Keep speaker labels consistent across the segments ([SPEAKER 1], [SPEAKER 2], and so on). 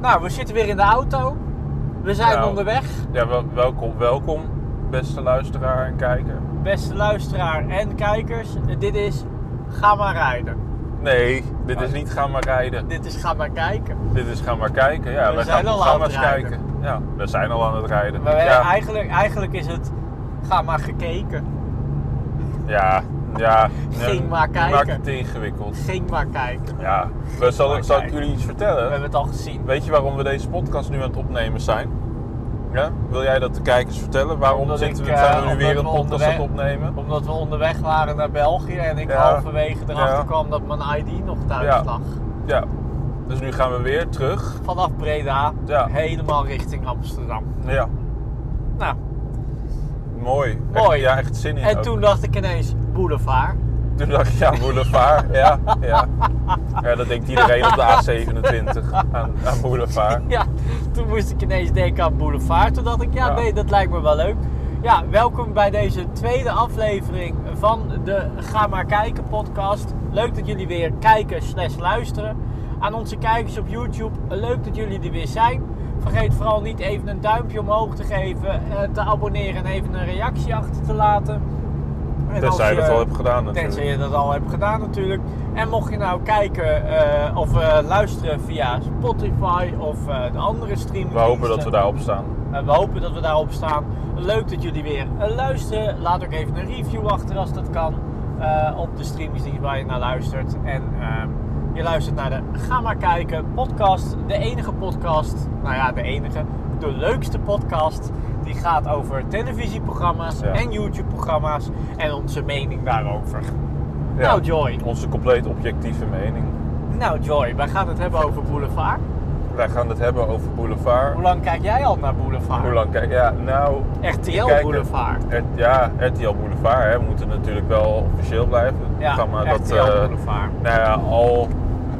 [SPEAKER 1] Nou, we zitten weer in de auto. We zijn
[SPEAKER 2] Nou.
[SPEAKER 1] onderweg.
[SPEAKER 2] Ja, wel- welkom, welkom, beste luisteraar en kijker.
[SPEAKER 1] Beste luisteraar en kijkers, dit is Ga maar rijden.
[SPEAKER 2] Nee, dit is
[SPEAKER 1] Oh.
[SPEAKER 2] niet gaan maar rijden.
[SPEAKER 1] Dit is Ga maar kijken.
[SPEAKER 2] Dit is gaan maar kijken. Ja,
[SPEAKER 1] We
[SPEAKER 2] wij
[SPEAKER 1] zijn al
[SPEAKER 2] gaan
[SPEAKER 1] aan het
[SPEAKER 2] programma's
[SPEAKER 1] rijden.
[SPEAKER 2] kijken. Ja, we zijn al aan het rijden.
[SPEAKER 1] Maar we-
[SPEAKER 2] ja,
[SPEAKER 1] eigenlijk, eigenlijk is het Ga maar gekeken.
[SPEAKER 2] ja, ja.
[SPEAKER 1] Ging
[SPEAKER 2] Ja,
[SPEAKER 1] maar
[SPEAKER 2] je
[SPEAKER 1] kijken.
[SPEAKER 2] Maakt het ingewikkeld.
[SPEAKER 1] Ging maar kijken.
[SPEAKER 2] Ja, we, zal,
[SPEAKER 1] maar
[SPEAKER 2] zal ik
[SPEAKER 1] kijken.
[SPEAKER 2] jullie iets
[SPEAKER 1] We
[SPEAKER 2] vertellen?
[SPEAKER 1] hebben het al gezien.
[SPEAKER 2] Weet je waarom we deze podcast nu aan het opnemen zijn? Ja? Wil jij dat de kijkers vertellen? Waarom
[SPEAKER 1] Omdat
[SPEAKER 2] zitten
[SPEAKER 1] ik,
[SPEAKER 2] we, zijn
[SPEAKER 1] eh,
[SPEAKER 2] we nu weer
[SPEAKER 1] omdat
[SPEAKER 2] een
[SPEAKER 1] we
[SPEAKER 2] podcast aan het
[SPEAKER 1] onderweg-
[SPEAKER 2] opnemen?
[SPEAKER 1] Omdat we onderweg waren naar België en ik
[SPEAKER 2] Ja.
[SPEAKER 1] halverwege erachter
[SPEAKER 2] Ja.
[SPEAKER 1] kwam dat mijn ID nog thuis
[SPEAKER 2] Ja.
[SPEAKER 1] lag.
[SPEAKER 2] Ja, dus nu gaan we weer terug.
[SPEAKER 1] Vanaf Breda
[SPEAKER 2] Ja.
[SPEAKER 1] helemaal richting Amsterdam.
[SPEAKER 2] Ja,
[SPEAKER 1] Nou,
[SPEAKER 2] mooi. Echt-
[SPEAKER 1] Mooi.
[SPEAKER 2] ja, echt zin in.
[SPEAKER 1] en
[SPEAKER 2] ook.
[SPEAKER 1] toen dacht ik ineens boulevard.
[SPEAKER 2] Toen dacht ik, ja, boulevard. ja, ja. ja, dat denkt iedereen op de A27 aan, aan boulevard.
[SPEAKER 1] Ja, toen moest ik ineens denken aan Boulevard. Toen dacht ik, ja,
[SPEAKER 2] Ja.
[SPEAKER 1] nee, dat lijkt me wel leuk. Ja, welkom bij deze tweede aflevering van de Ga maar kijken podcast. Leuk dat jullie weer kijken slash luisteren. Aan onze kijkers op YouTube, leuk dat jullie er weer zijn. Vergeet vooral niet even een duimpje omhoog te geven, eh, te abonneren en even een reactie achter te laten. En als
[SPEAKER 2] Tenzij je dat al hebt gedaan
[SPEAKER 1] Tenzij
[SPEAKER 2] natuurlijk.
[SPEAKER 1] je dat al hebt gedaan natuurlijk. En mocht je nou kijken eh, of eh, luisteren via Spotify of eh, de andere streaming.
[SPEAKER 2] We hopen dat we daarop staan.
[SPEAKER 1] we hopen dat we daarop staan. Leuk dat jullie weer eh, luisteren. Laat ook even een review achter als dat kan. eh, op de streamingsdienst waar je naar luistert. En ehm, je luistert naar de Ga maar kijken podcast. De enige podcast. Nou ja, de enige. De leukste podcast. Die gaat over televisieprogramma's
[SPEAKER 2] Ja.
[SPEAKER 1] en YouTube-programma's. En onze mening daarover.
[SPEAKER 2] Ja.
[SPEAKER 1] Nou, Joy.
[SPEAKER 2] Onze compleet objectieve mening.
[SPEAKER 1] Nou, Joy, wij gaan het hebben over Boulevard.
[SPEAKER 2] Wij gaan het hebben over boulevard.
[SPEAKER 1] Hoe lang kijk jij al naar Boulevard?
[SPEAKER 2] Hoe lang kijk Ja, nou...
[SPEAKER 1] RTL
[SPEAKER 2] kijk,
[SPEAKER 1] Boulevard.
[SPEAKER 2] R- ja, RTL Boulevard. Hè. We moeten natuurlijk wel officieel blijven. Het
[SPEAKER 1] Ja,
[SPEAKER 2] programma dat,
[SPEAKER 1] RTL
[SPEAKER 2] eh,
[SPEAKER 1] Boulevard.
[SPEAKER 2] Nou ja, al...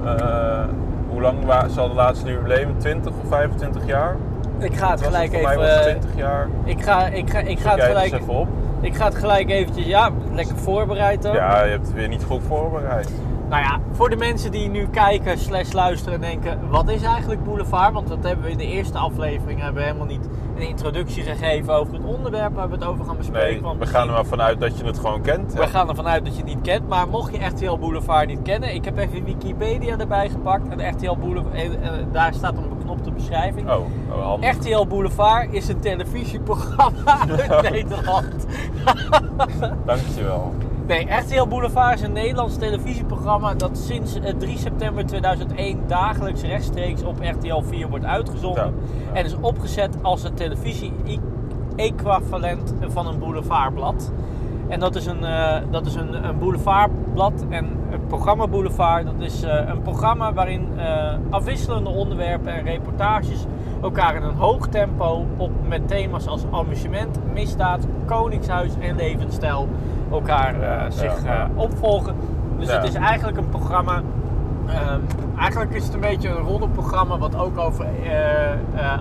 [SPEAKER 2] eh, hoe lang wa- zal de laatste jubileum? 20 of 25 jaar?
[SPEAKER 1] Ik ga het
[SPEAKER 2] Was
[SPEAKER 1] gelijk
[SPEAKER 2] voor mij
[SPEAKER 1] even...
[SPEAKER 2] was het
[SPEAKER 1] eh,
[SPEAKER 2] 20 jaar.
[SPEAKER 1] Ik ga, ik ga, ik ga het
[SPEAKER 2] Kijk eens
[SPEAKER 1] gelijk...
[SPEAKER 2] even op.
[SPEAKER 1] Ik ga het gelijk eventjes... Ja, lekker voorbereid ook.
[SPEAKER 2] Ja, je hebt het weer niet goed voorbereid.
[SPEAKER 1] Nou ja, voor de mensen die nu kijken slash luisteren en denken... Wat is eigenlijk Boulevard? Want dat hebben we in de eerste aflevering hebben we helemaal niet een introductie gegeven over het onderwerp waar we het over gaan bespreken.
[SPEAKER 2] Nee,
[SPEAKER 1] want
[SPEAKER 2] we gaan er
[SPEAKER 1] misschien-
[SPEAKER 2] maar vanuit dat je het gewoon kent. hè?
[SPEAKER 1] We gaan ervan uit dat je het niet kent, maar mocht je RTL Boulevard niet kennen, ik heb even Wikipedia erbij gepakt en RTL Boulevard, eh, eh, daar staat een beknopte beschrijving.
[SPEAKER 2] Oh, oh handig.
[SPEAKER 1] RTL Boulevard is een televisieprogramma uit Nederland.
[SPEAKER 2] Dankjewel.
[SPEAKER 1] Nee, RTL Boulevard is een Nederlands televisieprogramma dat sinds eh, 3 september 2001 dagelijks rechtstreeks op RTL 4 wordt uitgezonden
[SPEAKER 2] Ja, ja.
[SPEAKER 1] en is opgezet als het televisie-equivalent van een boulevardblad. En dat is een, eh, dat is een, een boulevardblad en het programma Boulevard. Dat is eh, een programma waarin eh, afwisselende onderwerpen en reportages elkaar in een hoog tempo op, met thema's als amusement, misdaad, koningshuis en levensstijl elkaar eh,
[SPEAKER 2] Ja,
[SPEAKER 1] zich
[SPEAKER 2] ja, ja.
[SPEAKER 1] eh, opvolgen. Dus
[SPEAKER 2] Ja.
[SPEAKER 1] het is eigenlijk een programma. ehm, eigenlijk is het een beetje een roddelprogramma wat ook over eh, eh,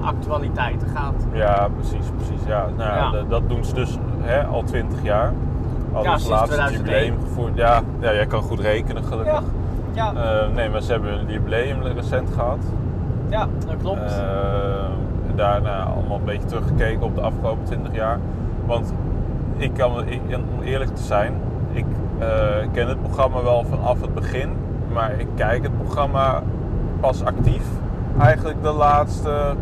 [SPEAKER 1] actualiteiten gaat.
[SPEAKER 2] Ja, precies, precies. Ja, nou, ja,
[SPEAKER 1] Ja.
[SPEAKER 2] dat- dat doen ze dus hè, al 20 jaar. Al dus
[SPEAKER 1] Ja,
[SPEAKER 2] het
[SPEAKER 1] sinds
[SPEAKER 2] laatste
[SPEAKER 1] 2001.
[SPEAKER 2] jubileum gevoerd. Ja, ja, jij kan goed rekenen gelukkig.
[SPEAKER 1] Ja, ja,
[SPEAKER 2] Eh, nee, maar ze hebben een jubileum recent gehad.
[SPEAKER 1] ja dat klopt.
[SPEAKER 2] Eh, en daarna allemaal een beetje teruggekeken op de afgelopen 20 jaar. Want ik kan, me- ik, en om eerlijk te zijn, ik eh, ken het programma wel vanaf het begin. Maar ik kijk het programma pas actief eigenlijk de laatste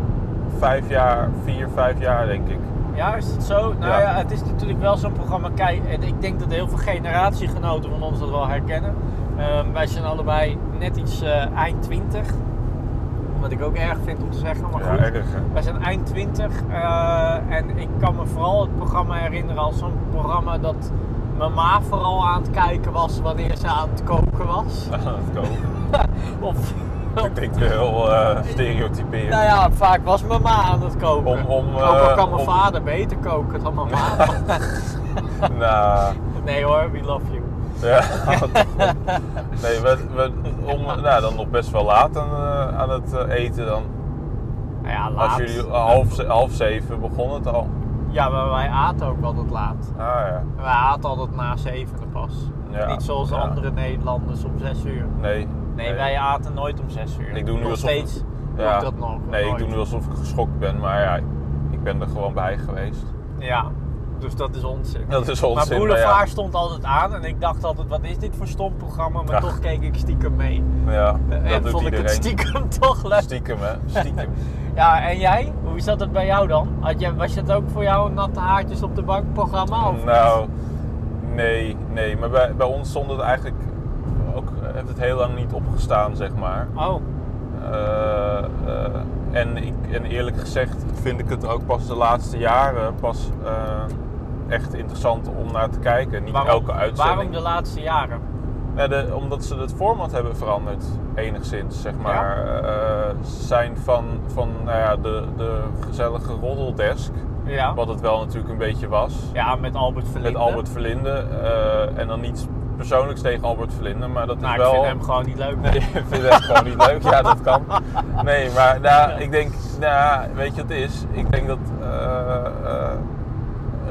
[SPEAKER 2] vijf jaar, vier, vijf jaar denk ik.
[SPEAKER 1] Ja, is dat zo? Nou ja,
[SPEAKER 2] Ja.
[SPEAKER 1] het is natuurlijk wel zo'n programma. Kijk, en ik denk dat heel veel generatiegenoten van ons dat wel herkennen. Ehm, wij zijn allebei net iets eh, eind 20. Wat ik ook erg vind om te zeggen, maar
[SPEAKER 2] Ja,
[SPEAKER 1] goed.
[SPEAKER 2] erg. hè?
[SPEAKER 1] Wij zijn eind 20 eh, en ik kan me vooral het programma herinneren als zo'n programma dat mijn ma vooral aan het kijken was wanneer ze aan het koken was.
[SPEAKER 2] Aan het koken.
[SPEAKER 1] Of,
[SPEAKER 2] Dat klinkt weer heel eh stereotyperend.
[SPEAKER 1] nou ja, vaak was mijn ma aan het koken.
[SPEAKER 2] Om- om,
[SPEAKER 1] Ook al
[SPEAKER 2] eh,
[SPEAKER 1] kan mijn
[SPEAKER 2] om-
[SPEAKER 1] vader beter koken dan mijn ma.
[SPEAKER 2] Nou,
[SPEAKER 1] nee hoor, we love you.
[SPEAKER 2] Ja, nee, we, we, om, nou, dan nog best wel laat aan, eh, aan het eh, eten dan.
[SPEAKER 1] Nou ja, laat.
[SPEAKER 2] Als jullie half, ze- half zeven begon het al.
[SPEAKER 1] Ja, maar wij aten ook altijd laat.
[SPEAKER 2] Ah ja,
[SPEAKER 1] Wij aten altijd na zevenen pas.
[SPEAKER 2] Ja,
[SPEAKER 1] Niet zoals
[SPEAKER 2] ja.
[SPEAKER 1] andere Nederlanders om zes uur.
[SPEAKER 2] nee.
[SPEAKER 1] Nee, wij aten nooit om zes uur.
[SPEAKER 2] Ik doe nu
[SPEAKER 1] Nog
[SPEAKER 2] alsof-
[SPEAKER 1] steeds doe ik dat nog.
[SPEAKER 2] Nee, ik
[SPEAKER 1] nooit.
[SPEAKER 2] doe nu alsof ik geschokt ben, maar ja, ik ben er gewoon bij geweest.
[SPEAKER 1] Ja, dus dat is onzin.
[SPEAKER 2] Dat is
[SPEAKER 1] Maar
[SPEAKER 2] onzin. maar
[SPEAKER 1] Boulevard stond altijd aan en ik dacht altijd, wat is dit voor stom programma? Maar
[SPEAKER 2] Ach.
[SPEAKER 1] toch keek ik stiekem mee.
[SPEAKER 2] ja, ja, dat
[SPEAKER 1] Eh, en
[SPEAKER 2] doet
[SPEAKER 1] vond ik
[SPEAKER 2] iedereen.
[SPEAKER 1] het stiekem toch leuk.
[SPEAKER 2] Stiekem, hè? Nou, Stiekem.
[SPEAKER 1] Ja, en jij? Hoe zat het bij jou dan? Had jij, was het ook voor jou een natte haartjes op de bank programma? Of
[SPEAKER 2] nou, nee, nee. Maar bij, bij ons stond het eigenlijk ook, eh, heeft het heel lang niet opgestaan, zeg maar.
[SPEAKER 1] Oh,
[SPEAKER 2] Eh, eh, en, ik, en eerlijk gezegd vind ik het ook pas de laatste jaren pas eh, echt interessant om naar te kijken. Niet
[SPEAKER 1] waarom,
[SPEAKER 2] elke uitzending.
[SPEAKER 1] waarom de laatste jaren?
[SPEAKER 2] Ja, de- omdat ze het format hebben veranderd, enigszins, zeg maar. Eh, ze zijn van, van nou ja, de, de gezellige roddeldesk,
[SPEAKER 1] Ja.
[SPEAKER 2] wat het wel natuurlijk een beetje was,
[SPEAKER 1] ja, met Albert Verlinde.
[SPEAKER 2] met Albert Verlinde. eh, en dan niets persoonlijks tegen Albert Verlinde, maar dat
[SPEAKER 1] Nou,
[SPEAKER 2] is
[SPEAKER 1] ik
[SPEAKER 2] wel...
[SPEAKER 1] vind hem gewoon niet leuk.
[SPEAKER 2] Nee, ik vind het gewoon niet leuk. Ja, dat kan. Nee, maar nou, ik denk, nou, weet je wat het is? Ik denk dat eh, eh,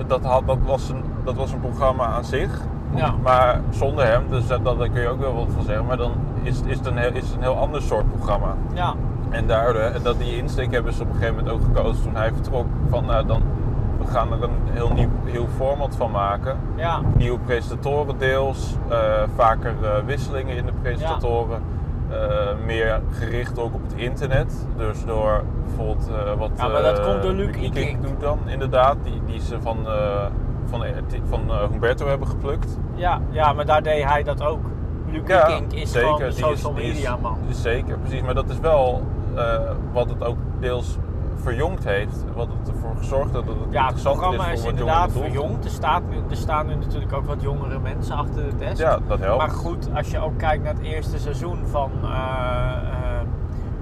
[SPEAKER 2] dat, had, dat, was een, dat was een programma aan zich.
[SPEAKER 1] Ja.
[SPEAKER 2] Maar zonder hem, dus dat, dat, daar kun je ook wel wat van zeggen, maar dan is, is, het een, heel- is het een heel ander soort programma.
[SPEAKER 1] Ja.
[SPEAKER 2] En daardoor, en dat die insteek hebben ze op een gegeven moment ook gekozen toen hij vertrok. Van nou, dan we gaan er een heel nieuw, heel format van maken
[SPEAKER 1] Ja.
[SPEAKER 2] nieuwe presentatoren deels, eh, vaker eh, wisselingen in de presentatoren. eh, meer gericht ook op het internet. Dus door bijvoorbeeld eh, wat.
[SPEAKER 1] Ja, maar dat
[SPEAKER 2] eh,
[SPEAKER 1] komt door Luc
[SPEAKER 2] Luc
[SPEAKER 1] Ikink.
[SPEAKER 2] doet dan, inderdaad. Die, die ze van, eh, van, eh, die- van eh, Humberto hebben geplukt.
[SPEAKER 1] Ja, ja, maar daar deed hij dat ook. Luc Kink is gewoon de
[SPEAKER 2] die is-
[SPEAKER 1] social
[SPEAKER 2] die is-
[SPEAKER 1] media man.
[SPEAKER 2] is zeker, precies. Maar dat is wel eh, wat het ook deels verjongd heeft. Wat het ervoor gezorgd dat het
[SPEAKER 1] Ja, het
[SPEAKER 2] interessanter
[SPEAKER 1] programma
[SPEAKER 2] is
[SPEAKER 1] is
[SPEAKER 2] voor wat jongere
[SPEAKER 1] inderdaad
[SPEAKER 2] doelgroep.
[SPEAKER 1] verjongd. Er, staat nu, er staan nu natuurlijk ook wat jongere mensen achter de desk.
[SPEAKER 2] Ja, dat helpt.
[SPEAKER 1] Maar goed, als je ook kijkt naar het eerste seizoen van eh, eh,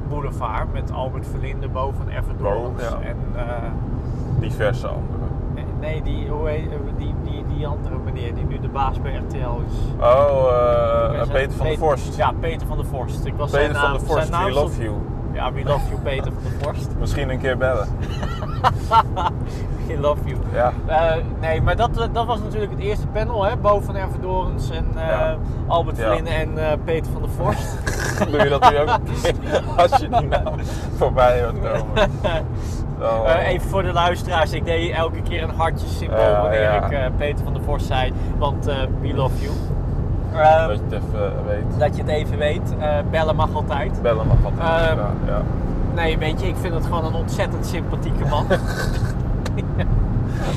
[SPEAKER 1] Boulevard... met Albert Verlinde, Bo van Everdorps
[SPEAKER 2] Bo, ja.
[SPEAKER 1] en... eh,
[SPEAKER 2] Diverse anderen.
[SPEAKER 1] nee, die, hoe heet- eh, die, die, die andere meneer die nu de baas bij RTL is.
[SPEAKER 2] Oh, eh,
[SPEAKER 1] Weet je-
[SPEAKER 2] Peter van der Vorst.
[SPEAKER 1] Ja, Peter van der Vorst. Ik was zijn
[SPEAKER 2] Peter
[SPEAKER 1] naam,
[SPEAKER 2] van der
[SPEAKER 1] zijn
[SPEAKER 2] Vorst,
[SPEAKER 1] naam
[SPEAKER 2] we
[SPEAKER 1] stond-
[SPEAKER 2] love you.
[SPEAKER 1] Ja, we love you, Peter van der Vorst.
[SPEAKER 2] Misschien een keer bellen.
[SPEAKER 1] I love you.
[SPEAKER 2] Ja.
[SPEAKER 1] Eh, nee, maar dat, dat was natuurlijk het eerste panel, hè? Bo van Ervedorens en eh,
[SPEAKER 2] Ja.
[SPEAKER 1] Albert
[SPEAKER 2] Ja.
[SPEAKER 1] Verlinde en eh, Peter van der Vorst.
[SPEAKER 2] Doe je dat nu ook een keer als je die naam voorbij hoort komen? Oh.
[SPEAKER 1] Eh, even voor de luisteraars, ik deed elke keer een hartje symbool
[SPEAKER 2] Ja,
[SPEAKER 1] wanneer
[SPEAKER 2] ja.
[SPEAKER 1] ik eh, Peter van der Vorst zei, want eh, we love you. Ehm,
[SPEAKER 2] Dat je het even eh, weet.
[SPEAKER 1] dat je het even weet, eh, bellen mag altijd.
[SPEAKER 2] Bellen mag altijd.
[SPEAKER 1] Ehm.
[SPEAKER 2] ja, ja.
[SPEAKER 1] Nee, weet je, ik vind het gewoon een ontzettend sympathieke man.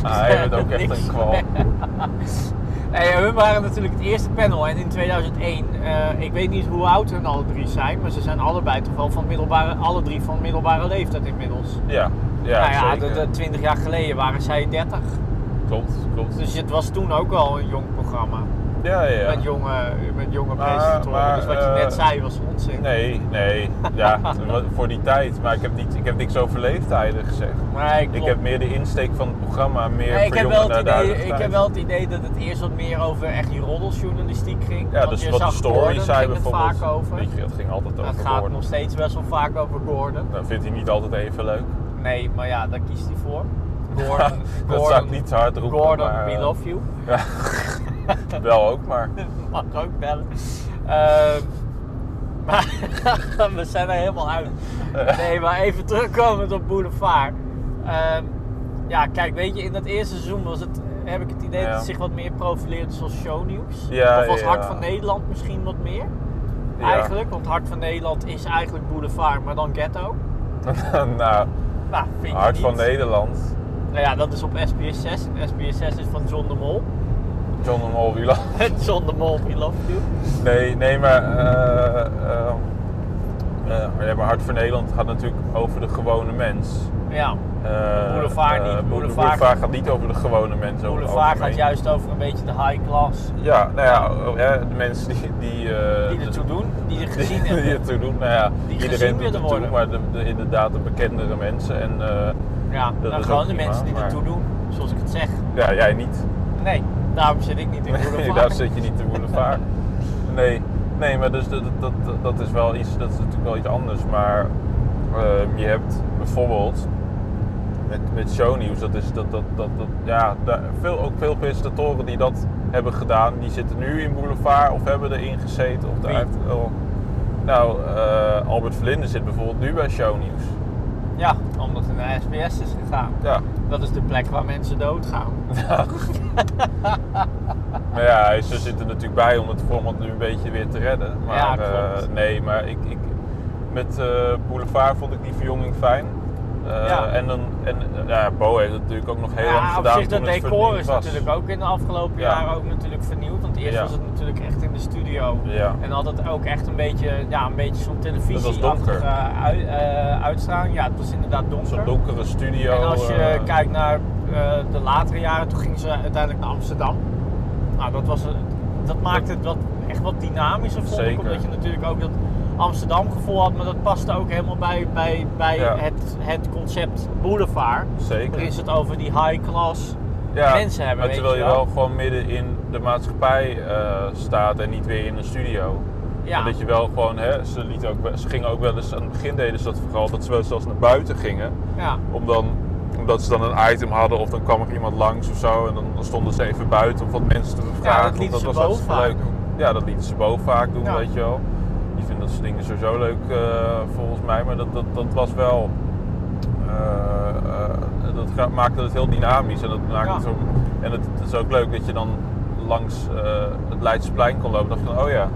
[SPEAKER 2] Ah, hij heeft ook echt
[SPEAKER 1] Niks.
[SPEAKER 2] een kwal.
[SPEAKER 1] Nee, hun waren natuurlijk het eerste panel en in 2001, eh, ik weet niet hoe oud hun alle drie zijn, maar ze zijn allebei toch wel van middelbare, alle drie van middelbare leeftijd inmiddels.
[SPEAKER 2] Ja, ja,
[SPEAKER 1] nou ja,
[SPEAKER 2] zeker.
[SPEAKER 1] de- de- 20 jaar geleden waren zij 30.
[SPEAKER 2] Klopt, klopt.
[SPEAKER 1] Dus het was toen ook al een jong programma.
[SPEAKER 2] Ja, ja, ja.
[SPEAKER 1] Met jonge, met jonge
[SPEAKER 2] Maar-
[SPEAKER 1] presentatoren.
[SPEAKER 2] maar,
[SPEAKER 1] dus wat je net
[SPEAKER 2] eh,
[SPEAKER 1] zei was onzin.
[SPEAKER 2] Nee, nee. Ja, wat- voor die tijd. Maar ik heb, niet, ik heb niks over leeftijden gezegd.
[SPEAKER 1] Nee,
[SPEAKER 2] Ik
[SPEAKER 1] klopt.
[SPEAKER 2] heb meer de insteek van het programma, meer
[SPEAKER 1] Nee, ik, heb
[SPEAKER 2] verjongen
[SPEAKER 1] wel het
[SPEAKER 2] naar de huidige
[SPEAKER 1] idee, ik
[SPEAKER 2] tijd.
[SPEAKER 1] heb wel het idee dat het eerst wat meer over echt die roddeljournalistiek ging.
[SPEAKER 2] Ja,
[SPEAKER 1] Want
[SPEAKER 2] dus
[SPEAKER 1] je
[SPEAKER 2] wat de
[SPEAKER 1] zag
[SPEAKER 2] story
[SPEAKER 1] Gordon,
[SPEAKER 2] zei
[SPEAKER 1] ging het
[SPEAKER 2] bijvoorbeeld.
[SPEAKER 1] vaak over.
[SPEAKER 2] Weet je, dat ging altijd
[SPEAKER 1] dat
[SPEAKER 2] over
[SPEAKER 1] gaat
[SPEAKER 2] woorden.
[SPEAKER 1] nog steeds best wel vaak over Gordon.
[SPEAKER 2] Dan vindt hij niet altijd even leuk.
[SPEAKER 1] Nee, maar ja, daar kiest hij voor. Gordon,
[SPEAKER 2] dat
[SPEAKER 1] Gordon,
[SPEAKER 2] zou ik niet te hard roepen.
[SPEAKER 1] Gordon,
[SPEAKER 2] maar,
[SPEAKER 1] we
[SPEAKER 2] eh,
[SPEAKER 1] love you.
[SPEAKER 2] ja. Wel ook, maar
[SPEAKER 1] Mag ook bellen. Ehm, maar we zijn er helemaal uit. Nee, maar even terugkomend op Boulevard. Ehm, ja, kijk, weet je, in dat eerste seizoen was het, heb ik het idee
[SPEAKER 2] Ja.
[SPEAKER 1] dat het zich wat meer profileerde zoals shownieuws.
[SPEAKER 2] Ja,
[SPEAKER 1] of als
[SPEAKER 2] ja,
[SPEAKER 1] Hart
[SPEAKER 2] ja.
[SPEAKER 1] van Nederland misschien wat meer.
[SPEAKER 2] Ja.
[SPEAKER 1] Eigenlijk, want Hart van Nederland is eigenlijk Boulevard, maar dan ghetto.
[SPEAKER 2] nou,
[SPEAKER 1] Nou, vind je
[SPEAKER 2] Hart
[SPEAKER 1] niet?
[SPEAKER 2] van Nederland.
[SPEAKER 1] Nou ja, dat is op SBS 6. En SBS 6 is van John de Mol.
[SPEAKER 2] John de Mol, wie lacht?
[SPEAKER 1] John de Mol, we love you.
[SPEAKER 2] Nee, nee, maar, eh, eh, eh, ja, maar Hart van Nederland gaat natuurlijk over de gewone mens.
[SPEAKER 1] Ja,
[SPEAKER 2] Eh,
[SPEAKER 1] Boulevard
[SPEAKER 2] eh,
[SPEAKER 1] niet.
[SPEAKER 2] Boule-
[SPEAKER 1] Boulevard-
[SPEAKER 2] Boulevard gaat niet over de gewone mens. over het
[SPEAKER 1] Boulevard gaat
[SPEAKER 2] algemeen.
[SPEAKER 1] juist over een beetje de high class.
[SPEAKER 2] Ja, nou ja, oh, hè, de mensen die... Die, eh,
[SPEAKER 1] Die ertoe doen, die er gezien
[SPEAKER 2] die, die
[SPEAKER 1] hebben.
[SPEAKER 2] ertoe doen. Nou ja,
[SPEAKER 1] Die gezien
[SPEAKER 2] iedereen doet
[SPEAKER 1] willen
[SPEAKER 2] ertoe,
[SPEAKER 1] worden.
[SPEAKER 2] maar de, de- inderdaad de bekendere mensen. En eh,
[SPEAKER 1] Ja,
[SPEAKER 2] dat
[SPEAKER 1] dan
[SPEAKER 2] is
[SPEAKER 1] gewoon
[SPEAKER 2] ook
[SPEAKER 1] de
[SPEAKER 2] prima,
[SPEAKER 1] mensen die
[SPEAKER 2] maar-
[SPEAKER 1] ertoe doen, zoals ik het zeg.
[SPEAKER 2] ja, jij niet.
[SPEAKER 1] Nee, daarom zit ik niet in Boulevard.
[SPEAKER 2] Nee, daar zit je niet te boulevard. Nee, nee maar dus dat, dat, dat, dat is wel iets, dat is natuurlijk wel iets anders. Maar ehm, je hebt bijvoorbeeld met, met shownieuws, dat is dat, dat, dat, dat ja, daar, veel, ook veel presentatoren die dat hebben gedaan, die zitten nu in boulevard of hebben erin gezeten. Of
[SPEAKER 1] Wie?
[SPEAKER 2] daar heeft, oh, Nou, eh, Albert Verlinde zit bijvoorbeeld nu bij Shownieuws.
[SPEAKER 1] Ja, omdat hij naar SBS is gegaan.
[SPEAKER 2] Ja.
[SPEAKER 1] Dat is de plek waar mensen doodgaan.
[SPEAKER 2] Ja. maar ja, hij- ze zitten natuurlijk bij om het format nu een beetje weer te redden. Maar
[SPEAKER 1] Ja,
[SPEAKER 2] eh,
[SPEAKER 1] klopt.
[SPEAKER 2] nee, maar ik, ik, met eh, Boulevard vond ik die verjonging fijn. Eh,
[SPEAKER 1] Ja.
[SPEAKER 2] En dan, en, eh, ja, Bo heeft het natuurlijk ook nog heel lang
[SPEAKER 1] ja, op
[SPEAKER 2] gedaan.
[SPEAKER 1] zich, dat
[SPEAKER 2] toen het
[SPEAKER 1] decor is
[SPEAKER 2] vernieuwd was.
[SPEAKER 1] natuurlijk ook in de afgelopen
[SPEAKER 2] Ja.
[SPEAKER 1] jaren ook natuurlijk vernieuwd. Want eerst
[SPEAKER 2] Ja.
[SPEAKER 1] was het natuurlijk echt in de studio.
[SPEAKER 2] Ja.
[SPEAKER 1] En had het ook echt een beetje, ja, een beetje zo'n televisie-achtige
[SPEAKER 2] donker.
[SPEAKER 1] ui- eh, uitstraling. Ja, het was inderdaad donker.
[SPEAKER 2] Zo'n donkere studio.
[SPEAKER 1] En als je
[SPEAKER 2] eh,
[SPEAKER 1] kijkt naar eh, de latere jaren, toen gingen ze uiteindelijk naar Amsterdam. Nou, dat, was, een- dat maakte het wat, echt wat dynamischer, vond ik.
[SPEAKER 2] Zeker.
[SPEAKER 1] Omdat je natuurlijk ook dat Amsterdam gevoel had, maar dat paste ook helemaal bij, bij, bij
[SPEAKER 2] Ja.
[SPEAKER 1] het, het concept boulevard.
[SPEAKER 2] Zeker.
[SPEAKER 1] Er is het over die high class mensen hebben,
[SPEAKER 2] Maar
[SPEAKER 1] weet
[SPEAKER 2] terwijl
[SPEAKER 1] je
[SPEAKER 2] je
[SPEAKER 1] wel.
[SPEAKER 2] wel gewoon midden in de maatschappij eh, staat en niet weer in een studio.
[SPEAKER 1] Ja.
[SPEAKER 2] En dat je wel gewoon, hè, ze, liet ook, wel- ze gingen ook wel eens aan het begin deden ze dat vooral, dat ze wel eens zelfs naar buiten gingen.
[SPEAKER 1] Ja.
[SPEAKER 2] Om dan, omdat ze dan een item hadden of dan kwam er iemand langs of zo. En dan, dan stonden ze even buiten om wat mensen te bevragen.
[SPEAKER 1] dat
[SPEAKER 2] want
[SPEAKER 1] lieten ze
[SPEAKER 2] was
[SPEAKER 1] boven
[SPEAKER 2] hartstikke
[SPEAKER 1] vaak
[SPEAKER 2] leuk.
[SPEAKER 1] doen.
[SPEAKER 2] Ja, dat lieten ze boven vaak doen,
[SPEAKER 1] Ja.
[SPEAKER 2] weet je wel. Die vinden dat soort dingen sowieso leuk eh, volgens mij. Maar dat, dat, dat was wel... eh, eh, dat ga- maakte het heel dynamisch. En, dat maakte
[SPEAKER 1] Ja.
[SPEAKER 2] het zo, en het, het is ook leuk dat je dan langs eh, het Leidseplein kon lopen. Dan dacht je, van, oh ja,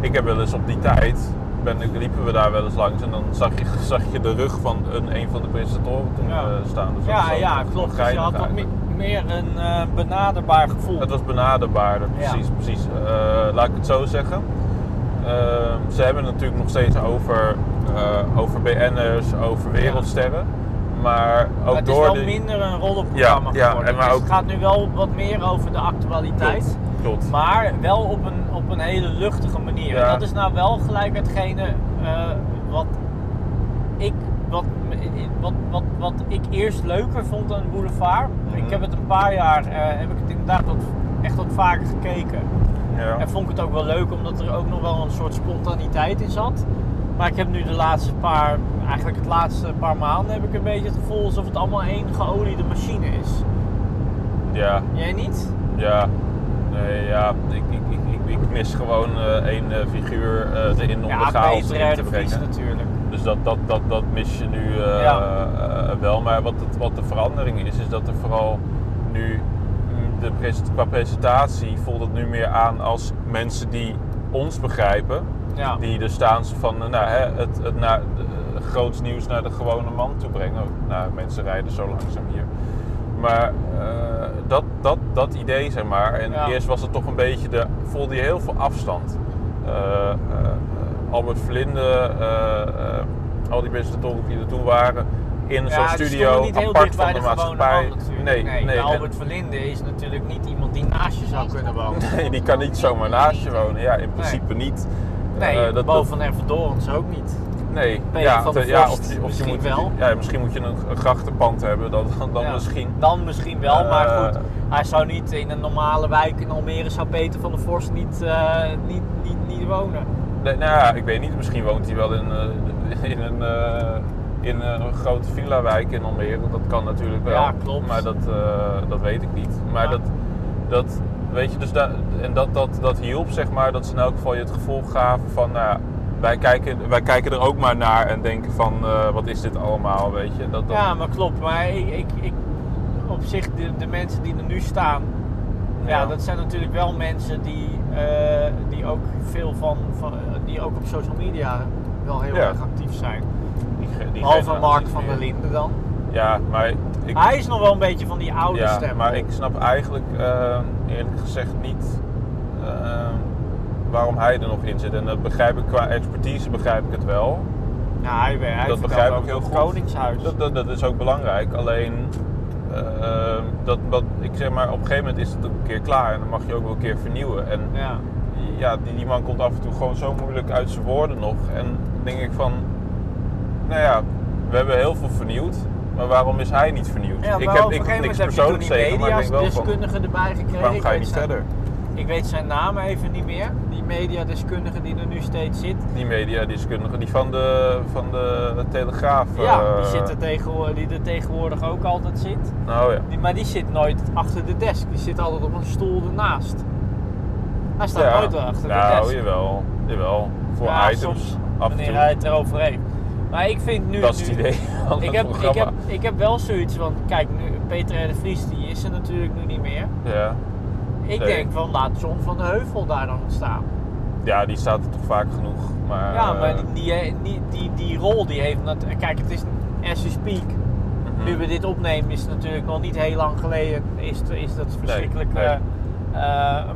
[SPEAKER 2] ik heb wel eens op die tijd, ben, ik- liepen we daar wel eens langs en dan zag je, zag je de rug van een, een van de presentatoren toen
[SPEAKER 1] Ja.
[SPEAKER 2] eh, staan. Dus dat
[SPEAKER 1] Ja,
[SPEAKER 2] was ook
[SPEAKER 1] ja,
[SPEAKER 2] nog
[SPEAKER 1] klopt. Dus je
[SPEAKER 2] geinig
[SPEAKER 1] had wat
[SPEAKER 2] eigenlijk.
[SPEAKER 1] me- meer een eh, benaderbaar gevoel.
[SPEAKER 2] Het was benaderbaarder,
[SPEAKER 1] Ja.
[SPEAKER 2] precies. precies. Eh, laat ik het zo zeggen. Ehm, ze hebben het natuurlijk nog steeds over, eh, over BN'ers, over wereldsterren. Maar ook
[SPEAKER 1] Maar het is
[SPEAKER 2] door
[SPEAKER 1] wel
[SPEAKER 2] die-
[SPEAKER 1] minder een rollenprogramma
[SPEAKER 2] Ja, ja,
[SPEAKER 1] geworden.
[SPEAKER 2] en maar
[SPEAKER 1] Dus
[SPEAKER 2] ook-
[SPEAKER 1] het gaat nu wel wat meer over de actualiteit.
[SPEAKER 2] Klopt, klopt.
[SPEAKER 1] Maar wel op een, op een hele luchtige manier.
[SPEAKER 2] Ja.
[SPEAKER 1] En dat is nou wel gelijk hetgene eh, wat, ik, wat, wat, wat, wat ik eerst leuker vond aan Boulevard.
[SPEAKER 2] Mhm.
[SPEAKER 1] Ik heb het een paar jaar, eh, heb ik het inderdaad wat, echt wat vaker gekeken.
[SPEAKER 2] Ja.
[SPEAKER 1] En vond ik het ook wel leuk omdat er ook nog wel een soort spontaniteit in zat. Maar ik heb nu de laatste paar, eigenlijk het laatste paar maanden heb ik een beetje het gevoel alsof het allemaal één geoliede machine is.
[SPEAKER 2] ja,
[SPEAKER 1] Jij niet?
[SPEAKER 2] Ja, nee, ja. Ik, ik, ik, ik, ik mis gewoon eh, één eh, figuur eh, erin om de chaos
[SPEAKER 1] Peter
[SPEAKER 2] erin
[SPEAKER 1] R.
[SPEAKER 2] te
[SPEAKER 1] de Vries
[SPEAKER 2] brengen.
[SPEAKER 1] natuurlijk.
[SPEAKER 2] Dus dat, dat, dat, dat mis je nu eh,
[SPEAKER 1] Ja.
[SPEAKER 2] eh, wel. Maar wat, het, wat de verandering is, is dat er vooral nu mm, de present- qua presentatie voelt het nu meer aan als mensen die ons begrijpen.
[SPEAKER 1] Ja.
[SPEAKER 2] Die dus staan ze van eh, nou, hè, het, het na, eh, groots nieuws naar de gewone man toe brengen. Nou, mensen rijden zo langzaam hier. Maar eh, dat, dat, dat idee, zeg maar. En
[SPEAKER 1] Ja.
[SPEAKER 2] eerst was het toch een beetje de. voelde je heel veel afstand. Eh, eh, eh, Albert Vlinde, eh, eh, al die presentatoren die er toen waren. In
[SPEAKER 1] Ja,
[SPEAKER 2] zo'n
[SPEAKER 1] die
[SPEAKER 2] studio,
[SPEAKER 1] stonden niet heel
[SPEAKER 2] apart
[SPEAKER 1] dicht bij
[SPEAKER 2] van de,
[SPEAKER 1] de, gewone
[SPEAKER 2] maatschappij.
[SPEAKER 1] man natuurlijk.
[SPEAKER 2] nee,
[SPEAKER 1] nee,
[SPEAKER 2] nee.
[SPEAKER 1] maar
[SPEAKER 2] en-
[SPEAKER 1] Albert Verlinde is natuurlijk niet iemand die naast je zou kunnen wonen.
[SPEAKER 2] nee, die kan niet zomaar naast je wonen. Ja, in principe niet.
[SPEAKER 1] Nee,
[SPEAKER 2] Eh, dat-
[SPEAKER 1] Bo
[SPEAKER 2] dat-
[SPEAKER 1] van Ervedorens ook niet.
[SPEAKER 2] Nee,
[SPEAKER 1] Peter van der
[SPEAKER 2] te- ja,
[SPEAKER 1] Vorst
[SPEAKER 2] of, je- of
[SPEAKER 1] misschien
[SPEAKER 2] je moet,
[SPEAKER 1] wel.
[SPEAKER 2] Ja, misschien moet je een, een grachtenpand hebben, dan, dan, dan
[SPEAKER 1] Ja.
[SPEAKER 2] misschien.
[SPEAKER 1] Dan misschien wel,
[SPEAKER 2] Eh,
[SPEAKER 1] maar goed. Hij zou niet in een normale wijk in Almere, zou Peter van der Vorst niet, eh, niet, niet, niet wonen.
[SPEAKER 2] Nee, nou ja, ik weet niet, misschien woont hij wel in, eh, in, een, eh, in een grote villa-wijk in Almere. Dat kan natuurlijk wel.
[SPEAKER 1] Ja, klopt.
[SPEAKER 2] Maar dat, eh, dat weet ik niet. Maar
[SPEAKER 1] Ja.
[SPEAKER 2] dat, dat, weet je, dus da- en dat, dat, dat hielp, zeg maar, dat ze in elk geval je het gevoel gaven van, nou ja, wij kijken, wij kijken er ook maar naar en denken van, eh, wat is dit allemaal, weet je. Dat, dat,
[SPEAKER 1] Ja, maar klopt. Maar ik, ik, ik, op zich, de, de mensen die er nu staan, ja.
[SPEAKER 2] Ja.
[SPEAKER 1] dat zijn natuurlijk wel mensen die, eh, die ook veel van, van die ook op social media wel heel
[SPEAKER 2] Ja.
[SPEAKER 1] erg actief zijn.
[SPEAKER 2] die ge- die
[SPEAKER 1] Behalve
[SPEAKER 2] generatie
[SPEAKER 1] Mark van
[SPEAKER 2] meer.
[SPEAKER 1] der Linden dan.
[SPEAKER 2] Ja, maar ik,
[SPEAKER 1] Hij is nog wel een beetje van die oude
[SPEAKER 2] ja,
[SPEAKER 1] stem.
[SPEAKER 2] Maar ik snap eigenlijk eh, eerlijk gezegd niet eh, waarom hij er nog in zit. En dat begrijp ik qua expertise begrijp ik het wel.
[SPEAKER 1] Ja, hij, hij
[SPEAKER 2] dat
[SPEAKER 1] vertelt
[SPEAKER 2] begrijp ik
[SPEAKER 1] ook
[SPEAKER 2] heel
[SPEAKER 1] het
[SPEAKER 2] goed.
[SPEAKER 1] Koningshuis.
[SPEAKER 2] Dat, dat, dat is ook belangrijk. Alleen eh, dat, dat, ik zeg maar, op een gegeven moment is het ook een keer klaar en dan mag je ook wel een keer vernieuwen. En
[SPEAKER 1] ja.
[SPEAKER 2] ja, die, die man komt af en toe gewoon zo moeilijk uit zijn woorden nog. En dan denk ik van, nou ja, we hebben heel veel vernieuwd. Maar waarom is hij niet vernieuwd?
[SPEAKER 1] Ja,
[SPEAKER 2] ik
[SPEAKER 1] maar
[SPEAKER 2] heb,
[SPEAKER 1] op een
[SPEAKER 2] ik,
[SPEAKER 1] gegeven
[SPEAKER 2] niks
[SPEAKER 1] moment heb je toen
[SPEAKER 2] persoonlijks
[SPEAKER 1] die
[SPEAKER 2] tegen, maar ik denk wel van,
[SPEAKER 1] mediadeskundige erbij gekregen.
[SPEAKER 2] waarom ga je
[SPEAKER 1] Ik
[SPEAKER 2] niet
[SPEAKER 1] weet zijn-
[SPEAKER 2] verder?
[SPEAKER 1] Ik weet zijn naam even niet meer. Die mediadeskundige die er nu steeds zit.
[SPEAKER 2] Die mediadeskundige, die van de, van de Telegraaf.
[SPEAKER 1] Ja,
[SPEAKER 2] eh,
[SPEAKER 1] die, zit er tegenwo- die er tegenwoordig ook altijd zit.
[SPEAKER 2] Nou ja.
[SPEAKER 1] Die, maar die zit nooit achter de desk. Die zit altijd op een stoel ernaast. Hij staat
[SPEAKER 2] ja.
[SPEAKER 1] nooit achter
[SPEAKER 2] nou,
[SPEAKER 1] de desk.
[SPEAKER 2] jawel, jawel. voor
[SPEAKER 1] Ja,
[SPEAKER 2] items
[SPEAKER 1] soms,
[SPEAKER 2] af en
[SPEAKER 1] wanneer
[SPEAKER 2] toe.
[SPEAKER 1] hij het erover heeft. Maar ik vind nu...
[SPEAKER 2] dat is het
[SPEAKER 1] nu-
[SPEAKER 2] idee van
[SPEAKER 1] Ik
[SPEAKER 2] het
[SPEAKER 1] heb, ik,
[SPEAKER 2] programma.
[SPEAKER 1] heb, ik heb wel zoiets, want kijk, nu, Peter R. de Vries die is er natuurlijk nu niet meer.
[SPEAKER 2] Ja.
[SPEAKER 1] Ik
[SPEAKER 2] Nee.
[SPEAKER 1] denk van laat John van de Heuvel daar dan staan.
[SPEAKER 2] ja, die staat er toch vaak genoeg. Maar,
[SPEAKER 1] ja,
[SPEAKER 2] eh,
[SPEAKER 1] maar die, die, die, die rol die heeft. nat- Kijk, het is as we speak.
[SPEAKER 2] mhm.
[SPEAKER 1] Nu we dit opnemen is het natuurlijk nog niet heel lang geleden. Is, het- is dat verschrikkelijk eh,
[SPEAKER 2] nee.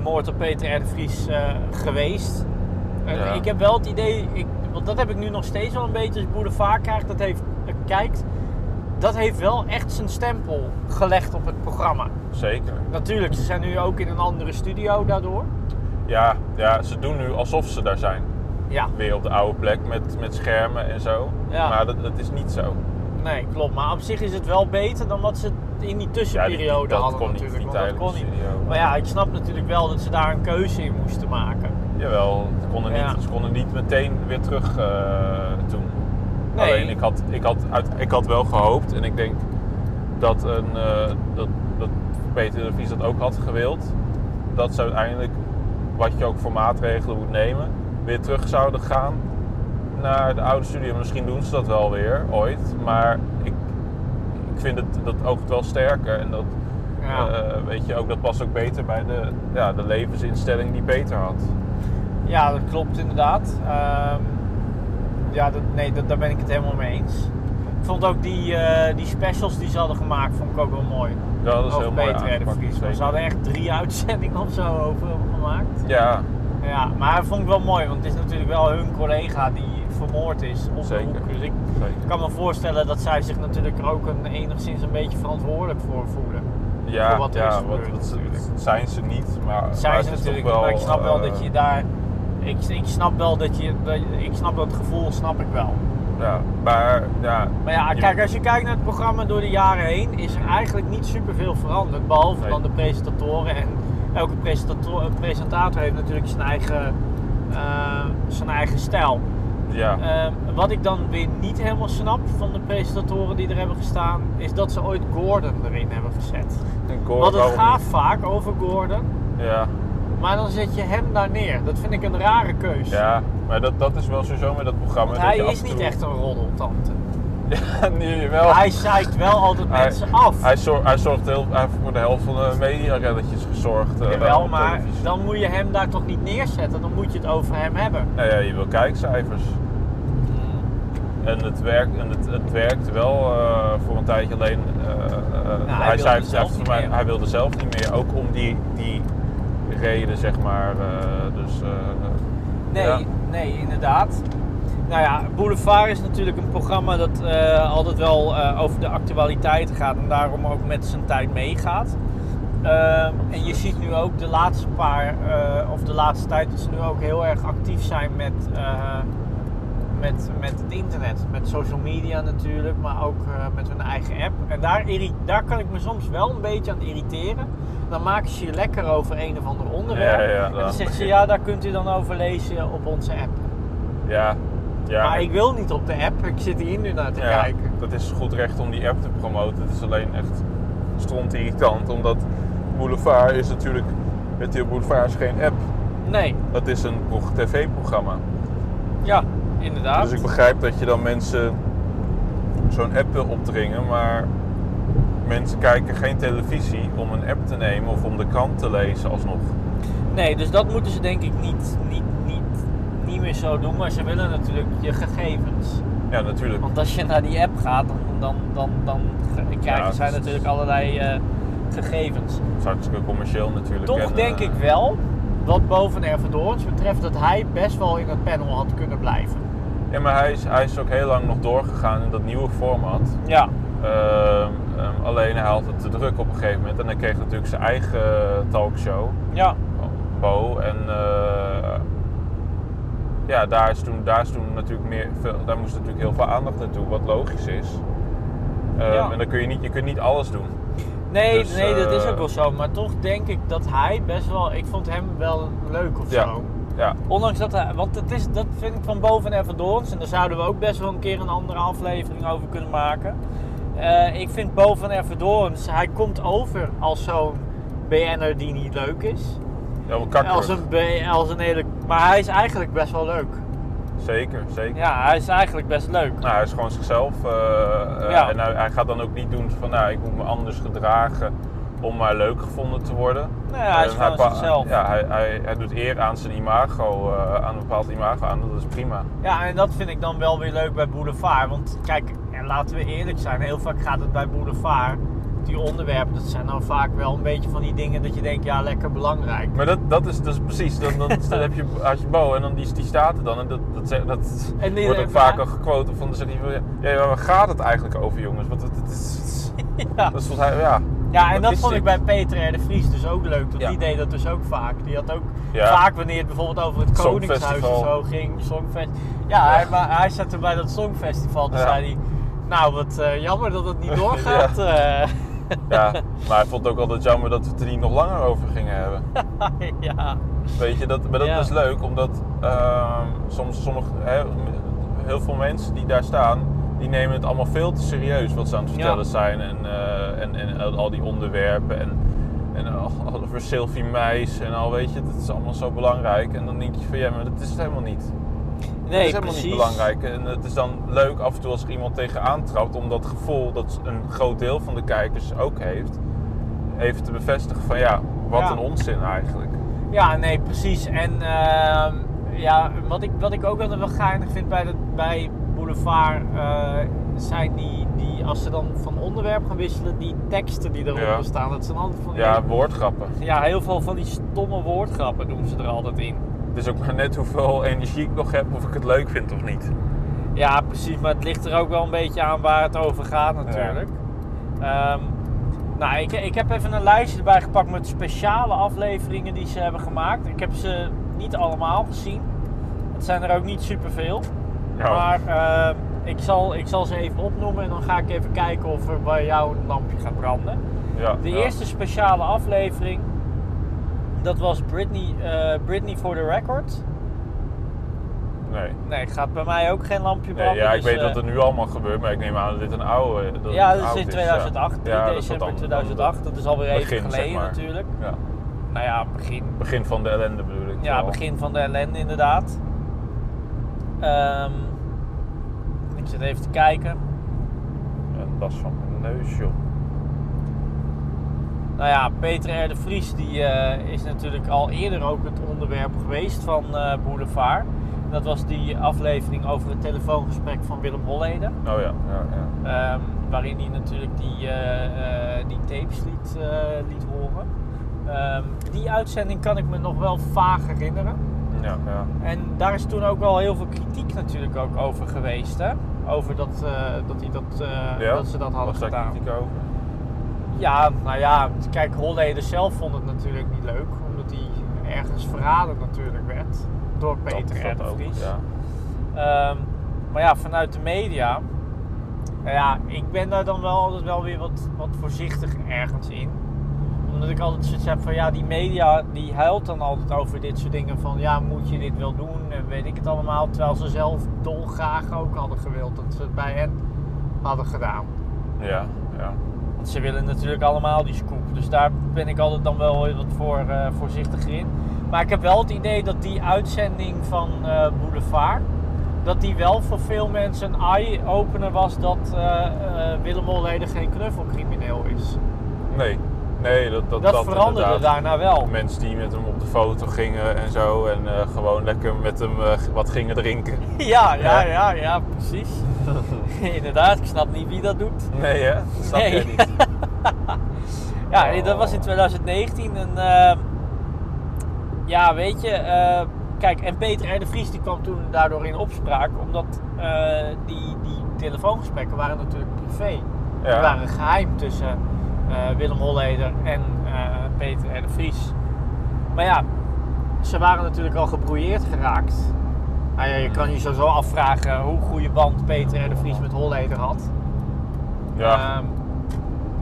[SPEAKER 1] moord op Peter R. de Vries eh, geweest. Eh,
[SPEAKER 2] Ja.
[SPEAKER 1] Ik heb wel het idee, ik, want dat heb ik nu nog steeds wel een beetje als Boulevard krijgt, dat heeft, eh, kijkt. Dat heeft wel echt zijn stempel gelegd op het programma.
[SPEAKER 2] Zeker.
[SPEAKER 1] Natuurlijk, ze zijn nu ook in een andere studio daardoor.
[SPEAKER 2] Ja, ja, ze doen nu alsof ze daar zijn.
[SPEAKER 1] Ja,
[SPEAKER 2] Weer op de oude plek met, met schermen en zo.
[SPEAKER 1] Ja.
[SPEAKER 2] Maar dat, dat is niet zo.
[SPEAKER 1] nee, klopt. Maar op zich is het wel beter dan wat ze in die
[SPEAKER 2] Ja, die-
[SPEAKER 1] tussenperiode
[SPEAKER 2] die- dat
[SPEAKER 1] hadden
[SPEAKER 2] kon niet,
[SPEAKER 1] natuurlijk.
[SPEAKER 2] die
[SPEAKER 1] want dat kon
[SPEAKER 2] tijdelijke
[SPEAKER 1] niet.
[SPEAKER 2] studio.
[SPEAKER 1] Maar ja, ik snap natuurlijk wel dat ze daar een keuze in moesten maken.
[SPEAKER 2] Jawel, ze konden, niet,
[SPEAKER 1] Ja.
[SPEAKER 2] ze konden niet meteen weer terug eh, toen.
[SPEAKER 1] Nee.
[SPEAKER 2] Alleen ik had, ik, had uit, ik had wel gehoopt en ik denk dat, een, eh, dat, dat Peter de Vries dat ook had gewild. Dat ze uiteindelijk, wat je ook voor maatregelen moet nemen, weer terug zouden gaan naar de oude studio. Misschien doen ze dat wel weer ooit, maar ik, ik vind het, dat oogt wel sterker. En dat,
[SPEAKER 1] Ja.
[SPEAKER 2] eh, weet je, ook, dat past ook beter bij de, ja, de levensinstelling die Peter had.
[SPEAKER 1] Ja, dat klopt inderdaad. Ehm, ja, dat, nee, dat, daar ben ik het helemaal mee eens. Ik vond ook die, eh, die specials die ze hadden gemaakt, vond ik ook wel mooi.
[SPEAKER 2] Ja, dat is
[SPEAKER 1] over
[SPEAKER 2] heel mooi
[SPEAKER 1] Peter R. de
[SPEAKER 2] aangepakt,
[SPEAKER 1] Vries. Maar
[SPEAKER 2] zeker.
[SPEAKER 1] ze hadden echt drie uitzendingen of zo over hem gemaakt.
[SPEAKER 2] Ja,
[SPEAKER 1] Ja, maar dat vond ik wel mooi, want het is natuurlijk wel hun collega die vermoord is op
[SPEAKER 2] Zeker.
[SPEAKER 1] de hoek. Dus ik
[SPEAKER 2] zeker.
[SPEAKER 1] kan me voorstellen dat zij zich natuurlijk er ook een, enigszins een beetje verantwoordelijk voor voelen.
[SPEAKER 2] Ja,
[SPEAKER 1] voor wat er is
[SPEAKER 2] ja
[SPEAKER 1] gebeurd
[SPEAKER 2] wat, wat-
[SPEAKER 1] natuurlijk.
[SPEAKER 2] wat zijn ze niet, maar, maar
[SPEAKER 1] Zij
[SPEAKER 2] het
[SPEAKER 1] ze
[SPEAKER 2] is
[SPEAKER 1] natuurlijk,
[SPEAKER 2] toch wel,
[SPEAKER 1] maar ik snap wel
[SPEAKER 2] eh,
[SPEAKER 1] dat je daar... Ik, ik snap wel dat je... Dat, ik snap dat gevoel, snap ik wel.
[SPEAKER 2] eh, Ja, maar ja,
[SPEAKER 1] Maar ja,
[SPEAKER 2] je-
[SPEAKER 1] kijk, als je kijkt naar het programma door de jaren heen, is er eigenlijk niet superveel veranderd. Behalve
[SPEAKER 2] Nee.
[SPEAKER 1] dan de presentatoren. En elke presentator, eh, presentator heeft natuurlijk zijn eigen, eh, zijn eigen stijl.
[SPEAKER 2] ja,
[SPEAKER 1] Ehm, wat ik dan weer niet helemaal snap van de presentatoren die er hebben gestaan, is dat ze ooit Gordon erin hebben gezet.
[SPEAKER 2] een
[SPEAKER 1] Want eh, het gaat vaak over Gordon,
[SPEAKER 2] Ja,
[SPEAKER 1] maar dan zet je hem daar neer. Dat vind ik een rare keuze.
[SPEAKER 2] ja, maar dat, dat is wel sowieso met dat programma.
[SPEAKER 1] Want
[SPEAKER 2] dat
[SPEAKER 1] hij
[SPEAKER 2] je af
[SPEAKER 1] is
[SPEAKER 2] en
[SPEAKER 1] niet
[SPEAKER 2] toe-
[SPEAKER 1] echt een roddeltante.
[SPEAKER 2] Ja, nu wel.
[SPEAKER 1] Hij zeikt wel altijd
[SPEAKER 2] Hij-
[SPEAKER 1] mensen af.
[SPEAKER 2] Hij, zor- hij zorgt heel, hij heeft voor de helft van de mediareddertjes gezorgd. eh,
[SPEAKER 1] Jawel,
[SPEAKER 2] op
[SPEAKER 1] maar
[SPEAKER 2] televisie.
[SPEAKER 1] dan moet je hem daar toch niet neerzetten. Dan moet je het over hem hebben.
[SPEAKER 2] Nou ja, je wil kijkcijfers. Mm. En het werkt, en het, het werkt wel eh, voor een tijdje alleen. eh, eh,
[SPEAKER 1] Nou, hij
[SPEAKER 2] hij,
[SPEAKER 1] wilde
[SPEAKER 2] zei,
[SPEAKER 1] zelf
[SPEAKER 2] voor
[SPEAKER 1] niet
[SPEAKER 2] mij,
[SPEAKER 1] meer.
[SPEAKER 2] hij wilde zelf niet meer. Ook om die, die reden, zeg maar. eh, dus, eh,
[SPEAKER 1] Nee,
[SPEAKER 2] ja.
[SPEAKER 1] nee, inderdaad. Nou ja, Boulevard is natuurlijk een programma dat eh, altijd wel eh, over de actualiteit gaat en daarom ook met zijn tijd meegaat. Ehm, en je ziet nu ook de laatste paar, eh, of de laatste tijd, dat ze nu ook heel erg actief zijn met, eh, met, met het internet. Met social media natuurlijk, maar ook eh, met hun eigen app. En daar, irri- daar kan ik me soms wel een beetje aan irriteren. Dan maken ze je lekker over een of ander onderwerp.
[SPEAKER 2] Ja, ja,
[SPEAKER 1] en dan
[SPEAKER 2] dat
[SPEAKER 1] zeggen ze,
[SPEAKER 2] begint.
[SPEAKER 1] ja, daar kunt u dan over lezen op onze app.
[SPEAKER 2] ja, ja.
[SPEAKER 1] Maar ik wil niet op de app, ik zit hier nu naar te
[SPEAKER 2] ja,
[SPEAKER 1] kijken.
[SPEAKER 2] Dat is goed recht om die app te promoten. Het is alleen echt stront irritant, omdat Boulevard is natuurlijk. Het heel Boulevard is geen app.
[SPEAKER 1] Nee,
[SPEAKER 2] Dat is een pro- tv-programma.
[SPEAKER 1] ja, inderdaad.
[SPEAKER 2] Dus ik begrijp dat je dan mensen zo'n app wil opdringen, maar mensen kijken geen televisie om een app te nemen of om de krant te lezen alsnog.
[SPEAKER 1] Nee, dus dat moeten ze denk ik niet, niet, niet, niet meer zo doen. Maar ze willen natuurlijk je gegevens.
[SPEAKER 2] Ja, natuurlijk.
[SPEAKER 1] Want als je naar die app gaat, dan, dan, dan, dan ge- krijgen
[SPEAKER 2] het
[SPEAKER 1] zij
[SPEAKER 2] is-
[SPEAKER 1] natuurlijk allerlei eh, gegevens.
[SPEAKER 2] Het is hartstikke commercieel natuurlijk.
[SPEAKER 1] Toch
[SPEAKER 2] en,
[SPEAKER 1] denk
[SPEAKER 2] eh,
[SPEAKER 1] ik wel, wat boven Ervedorens betreft, dat hij best wel in het panel had kunnen blijven.
[SPEAKER 2] Ja, maar hij is, hij is ook heel lang nog doorgegaan in dat nieuwe format.
[SPEAKER 1] Ja,
[SPEAKER 2] Ehm, ehm, alleen hij had het te druk op een gegeven moment. En hij kreeg natuurlijk zijn eigen talkshow,
[SPEAKER 1] ja.
[SPEAKER 2] Bo. En eh, ja, daar, is toen, daar, is toen natuurlijk meer, veel, daar moest natuurlijk heel veel aandacht naartoe, wat logisch is. Ehm,
[SPEAKER 1] Ja.
[SPEAKER 2] En dan kun je niet, je kunt niet alles doen.
[SPEAKER 1] Nee,
[SPEAKER 2] Dus,
[SPEAKER 1] nee, dat is
[SPEAKER 2] eh,
[SPEAKER 1] ook wel zo. Maar toch denk ik dat hij best wel. Ik vond hem wel leuk of
[SPEAKER 2] Ja.
[SPEAKER 1] zo.
[SPEAKER 2] Ja,
[SPEAKER 1] Ondanks dat hij. Want dat, is, dat vind ik van boven en Doorns. En daar zouden we ook best wel een keer een andere aflevering over kunnen maken. Eh, ik vind boven en Doorns. Hij komt over als zo'n BN'er die niet leuk is.
[SPEAKER 2] ja wel kakkerig.
[SPEAKER 1] Als een, B- als een hele. Maar hij is eigenlijk best wel leuk.
[SPEAKER 2] Zeker, zeker.
[SPEAKER 1] Ja, hij is eigenlijk best leuk.
[SPEAKER 2] Nou, hij is gewoon zichzelf. eh, eh,
[SPEAKER 1] Ja.
[SPEAKER 2] En hij, hij gaat dan ook niet doen van, nou, ik moet me anders gedragen om maar leuk gevonden te worden.
[SPEAKER 1] Nee, hij is
[SPEAKER 2] Eh,
[SPEAKER 1] gewoon
[SPEAKER 2] pa-
[SPEAKER 1] zichzelf.
[SPEAKER 2] Ja, hij, hij, hij doet eer aan zijn imago, eh, aan een bepaald imago aan. Dat is prima.
[SPEAKER 1] Ja, en dat vind ik dan wel weer leuk bij Boulevard. Want kijk, en laten we eerlijk zijn, heel vaak gaat het bij Boulevard. Die onderwerpen, dat zijn dan vaak wel een beetje van die dingen dat je denkt, ja, lekker belangrijk.
[SPEAKER 2] Maar dat, dat, is, dat is precies. Dan, dan, dan heb je, had je Bo en dan die, die staat er dan. En dat, dat, ze- dat
[SPEAKER 1] En die-
[SPEAKER 2] wordt ook
[SPEAKER 1] eh,
[SPEAKER 2] vaak
[SPEAKER 1] maar-
[SPEAKER 2] al gequote van, dan zeg je van, ja, ja, waar gaat het eigenlijk over jongens? Want het, het is...
[SPEAKER 1] Ja.
[SPEAKER 2] Dat is volgens mij, ja.
[SPEAKER 1] Ja, en dat,
[SPEAKER 2] is
[SPEAKER 1] vond ik
[SPEAKER 2] dit.
[SPEAKER 1] bij Peter R. de Vries dus ook leuk. Want
[SPEAKER 2] Ja.
[SPEAKER 1] die deed dat dus ook vaak. Die had ook
[SPEAKER 2] Ja.
[SPEAKER 1] vaak wanneer het bijvoorbeeld over het Koningshuis of
[SPEAKER 2] Songfestival.
[SPEAKER 1] zo ging. Songfest. Ja,
[SPEAKER 2] Ja.
[SPEAKER 1] Hij, maar hij zat er bij dat Songfestival. Toen
[SPEAKER 2] Ja.
[SPEAKER 1] zei hij, nou wat eh, jammer dat het niet doorgaat. eh.
[SPEAKER 2] Ja, maar hij vond het ook altijd jammer dat we het er niet nog langer over gingen hebben.
[SPEAKER 1] ja.
[SPEAKER 2] Weet je, dat, maar dat
[SPEAKER 1] Ja.
[SPEAKER 2] is leuk, omdat ehm, soms sommige, hè, heel veel mensen die daar staan, die nemen het allemaal veel te serieus wat ze aan het vertellen
[SPEAKER 1] Ja.
[SPEAKER 2] zijn. En, eh, en, en al die onderwerpen en, en al al over Sylvie Meis en al, weet je, dat is allemaal zo belangrijk. En dan denk je van, ja, maar dat is het helemaal niet.
[SPEAKER 1] Nee,
[SPEAKER 2] dat is helemaal
[SPEAKER 1] precies.
[SPEAKER 2] niet belangrijk. En het is dan leuk af en toe als er iemand tegenaan trapt om dat gevoel dat een groot deel van de kijkers ook heeft, even te bevestigen van ja, wat
[SPEAKER 1] Ja.
[SPEAKER 2] een onzin eigenlijk.
[SPEAKER 1] Ja, nee, precies. En ehm, ja, wat, ik, wat ik ook altijd wel geinig vind bij, dat, bij Boulevard... eh, zijn die, die, als ze dan van onderwerp gaan wisselen, die teksten die eronder
[SPEAKER 2] Ja.
[SPEAKER 1] staan. Dat zijn altijd van die
[SPEAKER 2] Ja, woordgrappen.
[SPEAKER 1] Ja, heel veel van die stomme woordgrappen doen ze er altijd in.
[SPEAKER 2] Het is ook maar net hoeveel energie ik nog heb of ik het leuk vind of niet.
[SPEAKER 1] Ja, precies. Maar het ligt er ook wel een beetje aan waar het over gaat natuurlijk. Ehm, nou, ik, ik heb even een lijstje erbij gepakt met speciale afleveringen die ze hebben gemaakt. Ik heb ze niet allemaal gezien. Het zijn er ook niet superveel.
[SPEAKER 2] Nou,
[SPEAKER 1] Maar ehm, ik, zal, ik zal ze even opnoemen en dan ga ik even kijken of er bij jou een lampje gaat branden.
[SPEAKER 2] ja,
[SPEAKER 1] De
[SPEAKER 2] ja.
[SPEAKER 1] eerste speciale aflevering, dat was Britney, eh, Britney for the Record.
[SPEAKER 2] Nee.
[SPEAKER 1] Nee, gaat bij mij ook geen lampje
[SPEAKER 2] nee
[SPEAKER 1] branden.
[SPEAKER 2] ja, ik
[SPEAKER 1] dus,
[SPEAKER 2] weet
[SPEAKER 1] eh,
[SPEAKER 2] dat er nu allemaal gebeurt, maar ik neem aan dat dit een oude. Dat het
[SPEAKER 1] Ja, dat
[SPEAKER 2] oud
[SPEAKER 1] is in
[SPEAKER 2] ja.
[SPEAKER 1] 2008, 3
[SPEAKER 2] Ja, dat is wat
[SPEAKER 1] december
[SPEAKER 2] anders dan
[SPEAKER 1] 2008. Dat is alweer even
[SPEAKER 2] begin, zeg
[SPEAKER 1] geleden
[SPEAKER 2] maar.
[SPEAKER 1] natuurlijk.
[SPEAKER 2] dat- Ja.
[SPEAKER 1] Nou ja, begin.
[SPEAKER 2] Begin van de ellende bedoel ik.
[SPEAKER 1] Ja,
[SPEAKER 2] vooral.
[SPEAKER 1] begin van de ellende inderdaad. Ehm, ik zit even te kijken.
[SPEAKER 2] En dat is van mijn neus, joh.
[SPEAKER 1] Nou ja, Peter R. de Vries die, eh, is natuurlijk al eerder ook het onderwerp geweest van eh Boulevard. Dat was die aflevering over het telefoongesprek van Willem Holleder.
[SPEAKER 2] Oh ja, ja, ja.
[SPEAKER 1] Ehm, waarin hij natuurlijk die, eh, eh, die tapes liet, eh, liet horen. Ehm, die uitzending kan ik me nog wel vaag herinneren.
[SPEAKER 2] ja, ja.
[SPEAKER 1] En daar is toen ook wel heel veel kritiek natuurlijk ook over geweest. Hè? Over dat, eh, dat, hij dat, eh,
[SPEAKER 2] Ja?
[SPEAKER 1] dat ze dat hadden
[SPEAKER 2] Was daar
[SPEAKER 1] gedaan.
[SPEAKER 2] kritiek over?
[SPEAKER 1] Ja, nou ja, kijk, Holleder zelf vond het natuurlijk niet leuk. Omdat hij ergens verraden natuurlijk werd. Door Peter
[SPEAKER 2] dat,
[SPEAKER 1] R. de
[SPEAKER 2] ook,
[SPEAKER 1] Vries.
[SPEAKER 2] ja.
[SPEAKER 1] Ehm, maar ja, vanuit de media. Nou ja, ik ben daar dan wel altijd wel weer wat, wat voorzichtig ergens in. Omdat ik altijd zoiets heb van ja, die media die huilt dan altijd over dit soort dingen. Van ja, moet je dit wel doen en weet ik het allemaal. Terwijl ze zelf dolgraag ook hadden gewild dat ze het bij hen hadden gedaan.
[SPEAKER 2] Ja, ja.
[SPEAKER 1] Want ze willen natuurlijk allemaal die scoop. Dus daar ben ik altijd dan wel weer wat voor, eh, voorzichtiger in. Maar ik heb wel het idee dat die uitzending van eh, Boulevard... dat die wel voor veel mensen een eye-opener was... dat eh, eh, Willem Holleder geen knuffelcrimineel is.
[SPEAKER 2] Nee. Nee, dat, dat,
[SPEAKER 1] Dat, veranderde
[SPEAKER 2] inderdaad.
[SPEAKER 1] daarna wel.
[SPEAKER 2] Mensen die met hem op de foto gingen en zo. En eh, gewoon lekker met hem eh, wat gingen drinken.
[SPEAKER 1] Ja, ja,
[SPEAKER 2] Ja.
[SPEAKER 1] ja, ja, precies. Inderdaad, ik snap niet wie dat doet.
[SPEAKER 2] Nee, hè? Dat snap
[SPEAKER 1] Nee.
[SPEAKER 2] jij niet.
[SPEAKER 1] Ja, nee, dat was in 2019. En ehm, ja, weet je, eh, kijk, en Peter R. de Vries die kwam toen daardoor in opspraak, omdat eh, die, die telefoongesprekken waren natuurlijk privé. Die
[SPEAKER 2] Ja.
[SPEAKER 1] waren geheim tussen eh, Willem Holleder en eh, Peter R. de Vries. Maar ja, ze waren natuurlijk al gebrouilleerd geraakt. Nou ja, je kan je sowieso afvragen hoe goede band Peter R. de Vries met Holleder had.
[SPEAKER 2] Ja.
[SPEAKER 1] Ehm,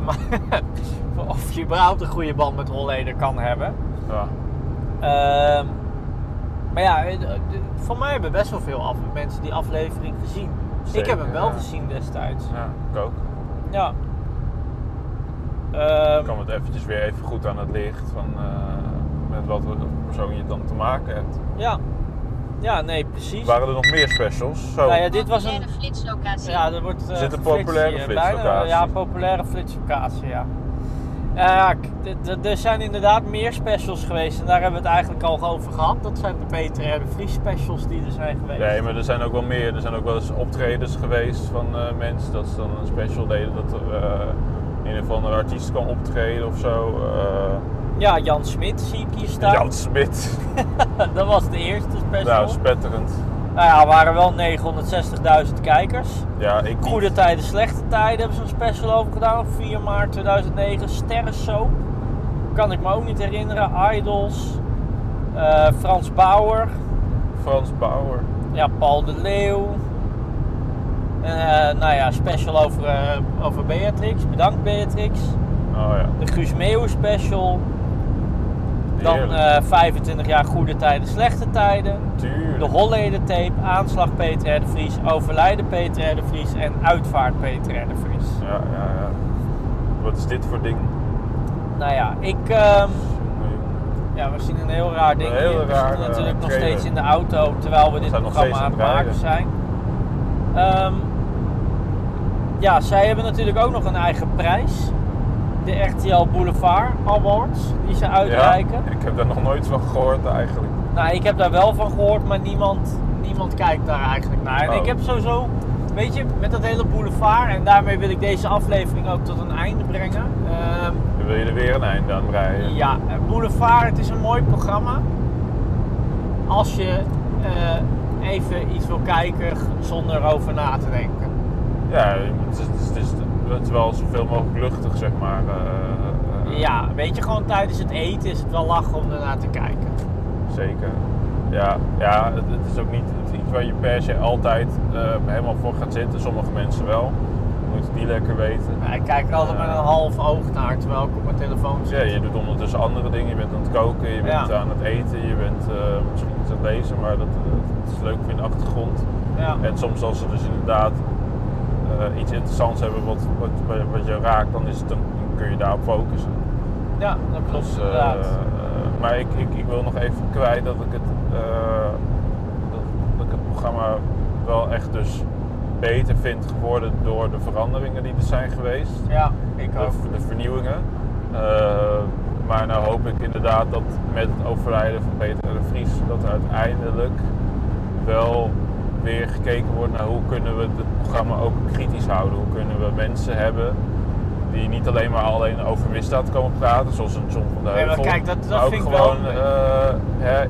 [SPEAKER 1] maar of je überhaupt een goede band met Holleder kan hebben.
[SPEAKER 2] ja.
[SPEAKER 1] Ehm, maar ja, eh, eh, voor mij hebben best wel veel af- mensen die aflevering gezien. ik
[SPEAKER 2] Zeker,
[SPEAKER 1] heb hem wel
[SPEAKER 2] ja.
[SPEAKER 1] gezien destijds.
[SPEAKER 2] Ja, ik ook.
[SPEAKER 1] Ja. Ehm,
[SPEAKER 2] Dan kwam het eventjes weer even goed aan het licht van eh, met wat voor persoon je dan te maken hebt.
[SPEAKER 1] ja. Ja, nee, precies.
[SPEAKER 2] Waren er nog meer specials? Zo.
[SPEAKER 1] Nou ja, dit was een.
[SPEAKER 3] Populaire flitslocatie.
[SPEAKER 1] Ja, er wordt. eh,
[SPEAKER 2] Zit een
[SPEAKER 1] geflitst
[SPEAKER 2] populaire
[SPEAKER 1] hier.
[SPEAKER 2] flitslocatie.
[SPEAKER 1] Bijna, ja, een populaire flitslocatie, ja. Eh, Ja, k- d- d- er zijn inderdaad meer specials geweest en daar hebben we het eigenlijk al over gehad. Dat zijn de Peter en de Vries specials die er zijn geweest.
[SPEAKER 2] Nee, maar er zijn ook wel meer. Er zijn ook wel eens optredens geweest van eh, mensen dat ze dan een special deden dat er eh, een of andere artiest kan optreden of zo. Eh,
[SPEAKER 1] Ja, Jan Smit zie ik hier staan.
[SPEAKER 2] Jan Smit.
[SPEAKER 1] dat was de eerste special.
[SPEAKER 2] nou,
[SPEAKER 1] Nou,
[SPEAKER 2] spetterend.
[SPEAKER 1] ja, er waren wel 960.000 kijkers.
[SPEAKER 2] Ja, ik niet.
[SPEAKER 1] Goede tijden, slechte tijden hebben ze een special over gedaan op 4 maart 2009. Sterrensoap. Kan ik me ook niet herinneren. Idols. Eh, Frans Bauer.
[SPEAKER 2] Frans Bauer.
[SPEAKER 1] Ja, Paul de Leeuw. Eh, nou ja, special over, eh, over Beatrix. Bedankt Beatrix.
[SPEAKER 2] Oh ja.
[SPEAKER 1] De Guus Meeuw special. Dan
[SPEAKER 2] Heerlijk.
[SPEAKER 1] eh, 25 jaar goede tijden, slechte tijden.
[SPEAKER 2] Tuurlijk.
[SPEAKER 1] De Holleden tape, aanslag Peter R. de Vries, overlijden Peter R. de Vries en uitvaart Peter R. de Vries.
[SPEAKER 2] Ja, ja, ja. Wat is dit voor ding?
[SPEAKER 1] Nou ja, ik... ehm,
[SPEAKER 2] Nee.
[SPEAKER 1] ja, we zien een heel raar ding.
[SPEAKER 2] Een heel
[SPEAKER 1] hier. we
[SPEAKER 2] raar,
[SPEAKER 1] zitten
[SPEAKER 2] eh,
[SPEAKER 1] natuurlijk nog
[SPEAKER 2] trailer.
[SPEAKER 1] steeds in de auto terwijl we dit
[SPEAKER 2] zijn nog
[SPEAKER 1] programma aan
[SPEAKER 2] steeds
[SPEAKER 1] het
[SPEAKER 2] aan het
[SPEAKER 1] maken zijn. Ehm, ja, zij hebben natuurlijk ook nog een eigen prijs. De RTL Boulevard Awards, die ze uitreiken.
[SPEAKER 2] Ja, ik heb daar nog nooit van gehoord eigenlijk.
[SPEAKER 1] Nou, ik heb daar wel van gehoord, maar niemand, niemand kijkt daar eigenlijk naar. En
[SPEAKER 2] Oh.
[SPEAKER 1] ik heb sowieso, weet je, met dat hele boulevard, en daarmee wil ik deze aflevering ook tot een einde brengen. Ehm,
[SPEAKER 2] Dan wil je er weer een einde aan breien.
[SPEAKER 1] ja, Boulevard, het is een mooi programma. Als je eh, even iets wil kijken g- zonder over na te denken.
[SPEAKER 2] Ja, het is, het is, het is, het is wel zoveel mogelijk luchtig, zeg maar. eh, eh,
[SPEAKER 1] Ja, weet je, gewoon tijdens het eten is het wel lachen om ernaar te kijken.
[SPEAKER 2] Zeker. Ja, ja het, het is ook niet het is iets waar je per se altijd eh, helemaal voor gaat zitten. Sommige mensen wel. Moeten die lekker weten.
[SPEAKER 1] Maar Ik kijk er altijd met een half oog naar terwijl ik op mijn telefoon
[SPEAKER 2] Dus Ja,
[SPEAKER 1] zit.
[SPEAKER 2] je doet ondertussen andere dingen. Je bent aan het koken, je bent
[SPEAKER 1] Ja.
[SPEAKER 2] aan het eten, je bent eh, misschien iets aan het lezen, maar dat, dat is leuk voor in de achtergrond.
[SPEAKER 1] Ja.
[SPEAKER 2] En soms als ze dus inderdaad eh, iets interessants hebben wat, wat, wat je raakt, dan, is het, dan kun je daarop focussen.
[SPEAKER 1] Ja, dat klopt
[SPEAKER 2] Dus, eh,
[SPEAKER 1] inderdaad.
[SPEAKER 2] eh, maar ik, ik, ik wil nog even kwijt dat ik het, eh, dat, dat ik het programma wel echt dus beter vind geworden door de veranderingen die er zijn geweest.
[SPEAKER 1] Ja, ik ook.
[SPEAKER 2] De, de vernieuwingen. Eh, maar nou hoop ik inderdaad dat met het overlijden van Peter R. de Vries dat er uiteindelijk wel weer gekeken wordt naar hoe kunnen we het programma ook kritisch houden. Hoe kunnen we mensen hebben die niet alleen maar alleen over misdaad komen praten, zoals een John van der
[SPEAKER 1] Nee, maar
[SPEAKER 2] Heuvel.
[SPEAKER 1] kijk, dat- dat
[SPEAKER 2] maar ook
[SPEAKER 1] vind ik
[SPEAKER 2] gewoon
[SPEAKER 1] wel-
[SPEAKER 2] eh, hè,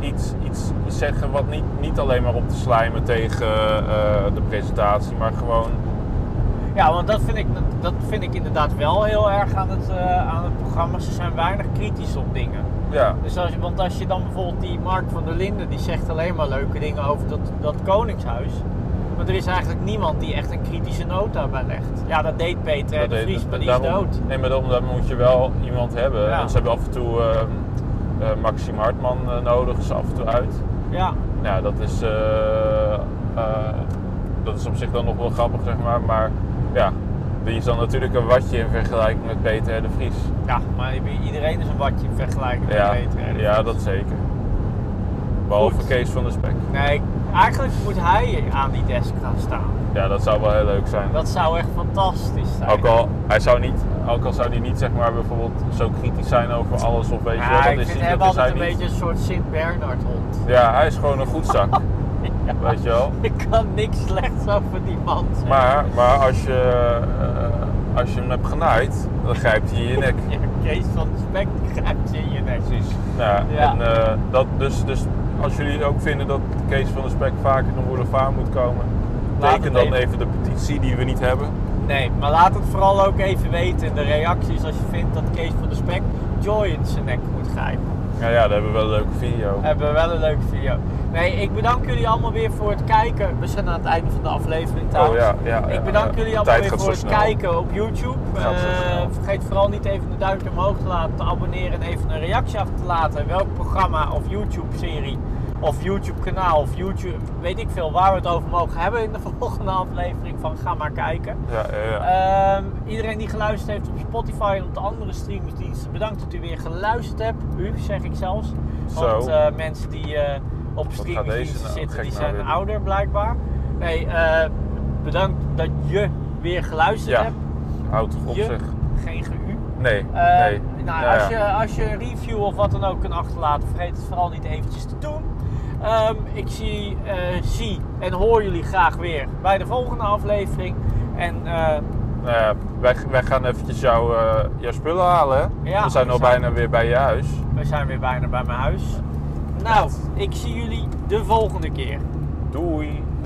[SPEAKER 2] iets, iets zeggen wat niet, niet alleen maar op te slijmen tegen eh, de presentatie, maar gewoon
[SPEAKER 1] Ja, want dat vind, ik, dat vind ik inderdaad wel heel erg aan het, eh, aan het programma. Ze zijn weinig kritisch op dingen.
[SPEAKER 2] ja,
[SPEAKER 1] Dus als je, want als je dan bijvoorbeeld die Mark van der Linden, die zegt alleen maar leuke dingen over dat, dat Koningshuis. Maar er is eigenlijk niemand die echt een kritische noot daarbij legt. Ja, dat deed Peter hè,
[SPEAKER 2] Dat
[SPEAKER 1] de
[SPEAKER 2] deed-
[SPEAKER 1] Vries,
[SPEAKER 2] dat-
[SPEAKER 1] maar die is
[SPEAKER 2] daarom,
[SPEAKER 1] dood.
[SPEAKER 2] Nee, maar daarom, daar moet je wel iemand hebben.
[SPEAKER 1] Ja.
[SPEAKER 2] En ze hebben af en toe ehm eh, Maxime Hartman eh, nodig, ze af en toe uit.
[SPEAKER 1] Ja,
[SPEAKER 2] Nou, dat is, eh, eh, dat is op zich dan nog wel grappig, zeg maar. Maar ja, die is dan natuurlijk een watje in vergelijking met Peter R. de Vries.
[SPEAKER 1] ja maar iedereen is een watje in vergelijking met
[SPEAKER 2] Ja,
[SPEAKER 1] Peter. hè, de
[SPEAKER 2] ja
[SPEAKER 1] Vries.
[SPEAKER 2] dat zeker. Behalve
[SPEAKER 1] Goed.
[SPEAKER 2] Kees van der Spek.
[SPEAKER 1] Nee, eigenlijk moet hij aan die desk gaan staan.
[SPEAKER 2] Ja, dat zou wel heel leuk zijn.
[SPEAKER 1] Dat zou echt fantastisch zijn.
[SPEAKER 2] Ook al, hij zou niet, ook al zou hij niet zeg maar, bijvoorbeeld zo kritisch zijn over alles of weet je wel,
[SPEAKER 1] ja,
[SPEAKER 2] dat
[SPEAKER 1] Ah, ik
[SPEAKER 2] is
[SPEAKER 1] vind
[SPEAKER 2] hij-
[SPEAKER 1] hem
[SPEAKER 2] dat is
[SPEAKER 1] altijd een
[SPEAKER 2] hij niet.
[SPEAKER 1] beetje een soort Sint-Bernard-hond.
[SPEAKER 2] Ja, hij is gewoon een goed zak. Weet je wel?
[SPEAKER 1] Ik kan niks slechts over die man zeggen.
[SPEAKER 2] Maar, maar als, je, eh, als je hem hebt genaaid, dan grijpt hij in je nek.
[SPEAKER 1] Ja, Kees van de Spek die grijpt je in je nek.
[SPEAKER 2] Precies. Ja,
[SPEAKER 1] Ja.
[SPEAKER 2] En, eh, dat, dus, dus als jullie ook vinden dat Kees van der Spek vaker in de boulevard moet komen,
[SPEAKER 1] Laat
[SPEAKER 2] teken
[SPEAKER 1] het
[SPEAKER 2] dan
[SPEAKER 1] even.
[SPEAKER 2] even de petitie die we niet hebben.
[SPEAKER 1] Nee, maar laat het vooral ook even weten in de reacties als je vindt dat Kees van de Spek Joy in zijn nek moet grijpen.
[SPEAKER 2] Ja, ja, daar hebben we wel een leuke video.
[SPEAKER 1] We hebben wel een leuke video. Nee, ik bedank jullie allemaal weer voor het kijken. We zijn aan het einde van de aflevering trouwens.
[SPEAKER 2] Oh, ja, ja, ja,
[SPEAKER 1] ik bedank
[SPEAKER 2] ja.
[SPEAKER 1] jullie
[SPEAKER 2] De
[SPEAKER 1] allemaal
[SPEAKER 2] tijd
[SPEAKER 1] weer
[SPEAKER 2] gaat
[SPEAKER 1] voor
[SPEAKER 2] zo
[SPEAKER 1] het
[SPEAKER 2] snel.
[SPEAKER 1] kijken op YouTube.
[SPEAKER 2] Gaat zo
[SPEAKER 1] Eh,
[SPEAKER 2] snel.
[SPEAKER 1] vergeet vooral niet even de duimpje omhoog te laten, te abonneren en even een reactie achter te laten. Welk programma of YouTube serie of YouTube kanaal of YouTube, weet ik veel, waar we het over mogen hebben in de volgende aflevering van Ga maar kijken.
[SPEAKER 2] Ja, ja, ja.
[SPEAKER 1] Ehm, iedereen die geluisterd heeft op Spotify en op de andere streamingsdiensten, bedankt dat u weer geluisterd hebt. U zeg ik zelfs.
[SPEAKER 2] Zo.
[SPEAKER 1] Want eh, mensen die eh, op
[SPEAKER 2] gaat
[SPEAKER 1] streamingdiensten
[SPEAKER 2] deze nou?
[SPEAKER 1] zitten.
[SPEAKER 2] Gek
[SPEAKER 1] Die
[SPEAKER 2] nou
[SPEAKER 1] zijn
[SPEAKER 2] weer.
[SPEAKER 1] ouder blijkbaar. Nee, eh, bedankt dat je weer geluisterd
[SPEAKER 2] Ja,
[SPEAKER 1] hebt.
[SPEAKER 2] houd toch op
[SPEAKER 1] Je?
[SPEAKER 2] zich.
[SPEAKER 1] Geen ge-u.
[SPEAKER 2] Nee,
[SPEAKER 1] Eh,
[SPEAKER 2] nee.
[SPEAKER 1] Nou,
[SPEAKER 2] Ja,
[SPEAKER 1] als,
[SPEAKER 2] ja.
[SPEAKER 1] je, als je een review of wat dan ook kunt achterlaten, vergeet het vooral niet eventjes te doen. Ehm, ik zie, eh, zie en hoor jullie graag weer bij de volgende aflevering. En eh,
[SPEAKER 2] Nou ja, wij, wij gaan eventjes jouw, eh, jouw spullen halen. hè?
[SPEAKER 1] Ja,
[SPEAKER 2] we zijn
[SPEAKER 1] we
[SPEAKER 2] al
[SPEAKER 1] zijn-
[SPEAKER 2] bijna weer bij je huis.
[SPEAKER 1] we zijn weer bijna bij mijn huis. Nou, ik zie jullie de volgende keer.
[SPEAKER 2] Doei!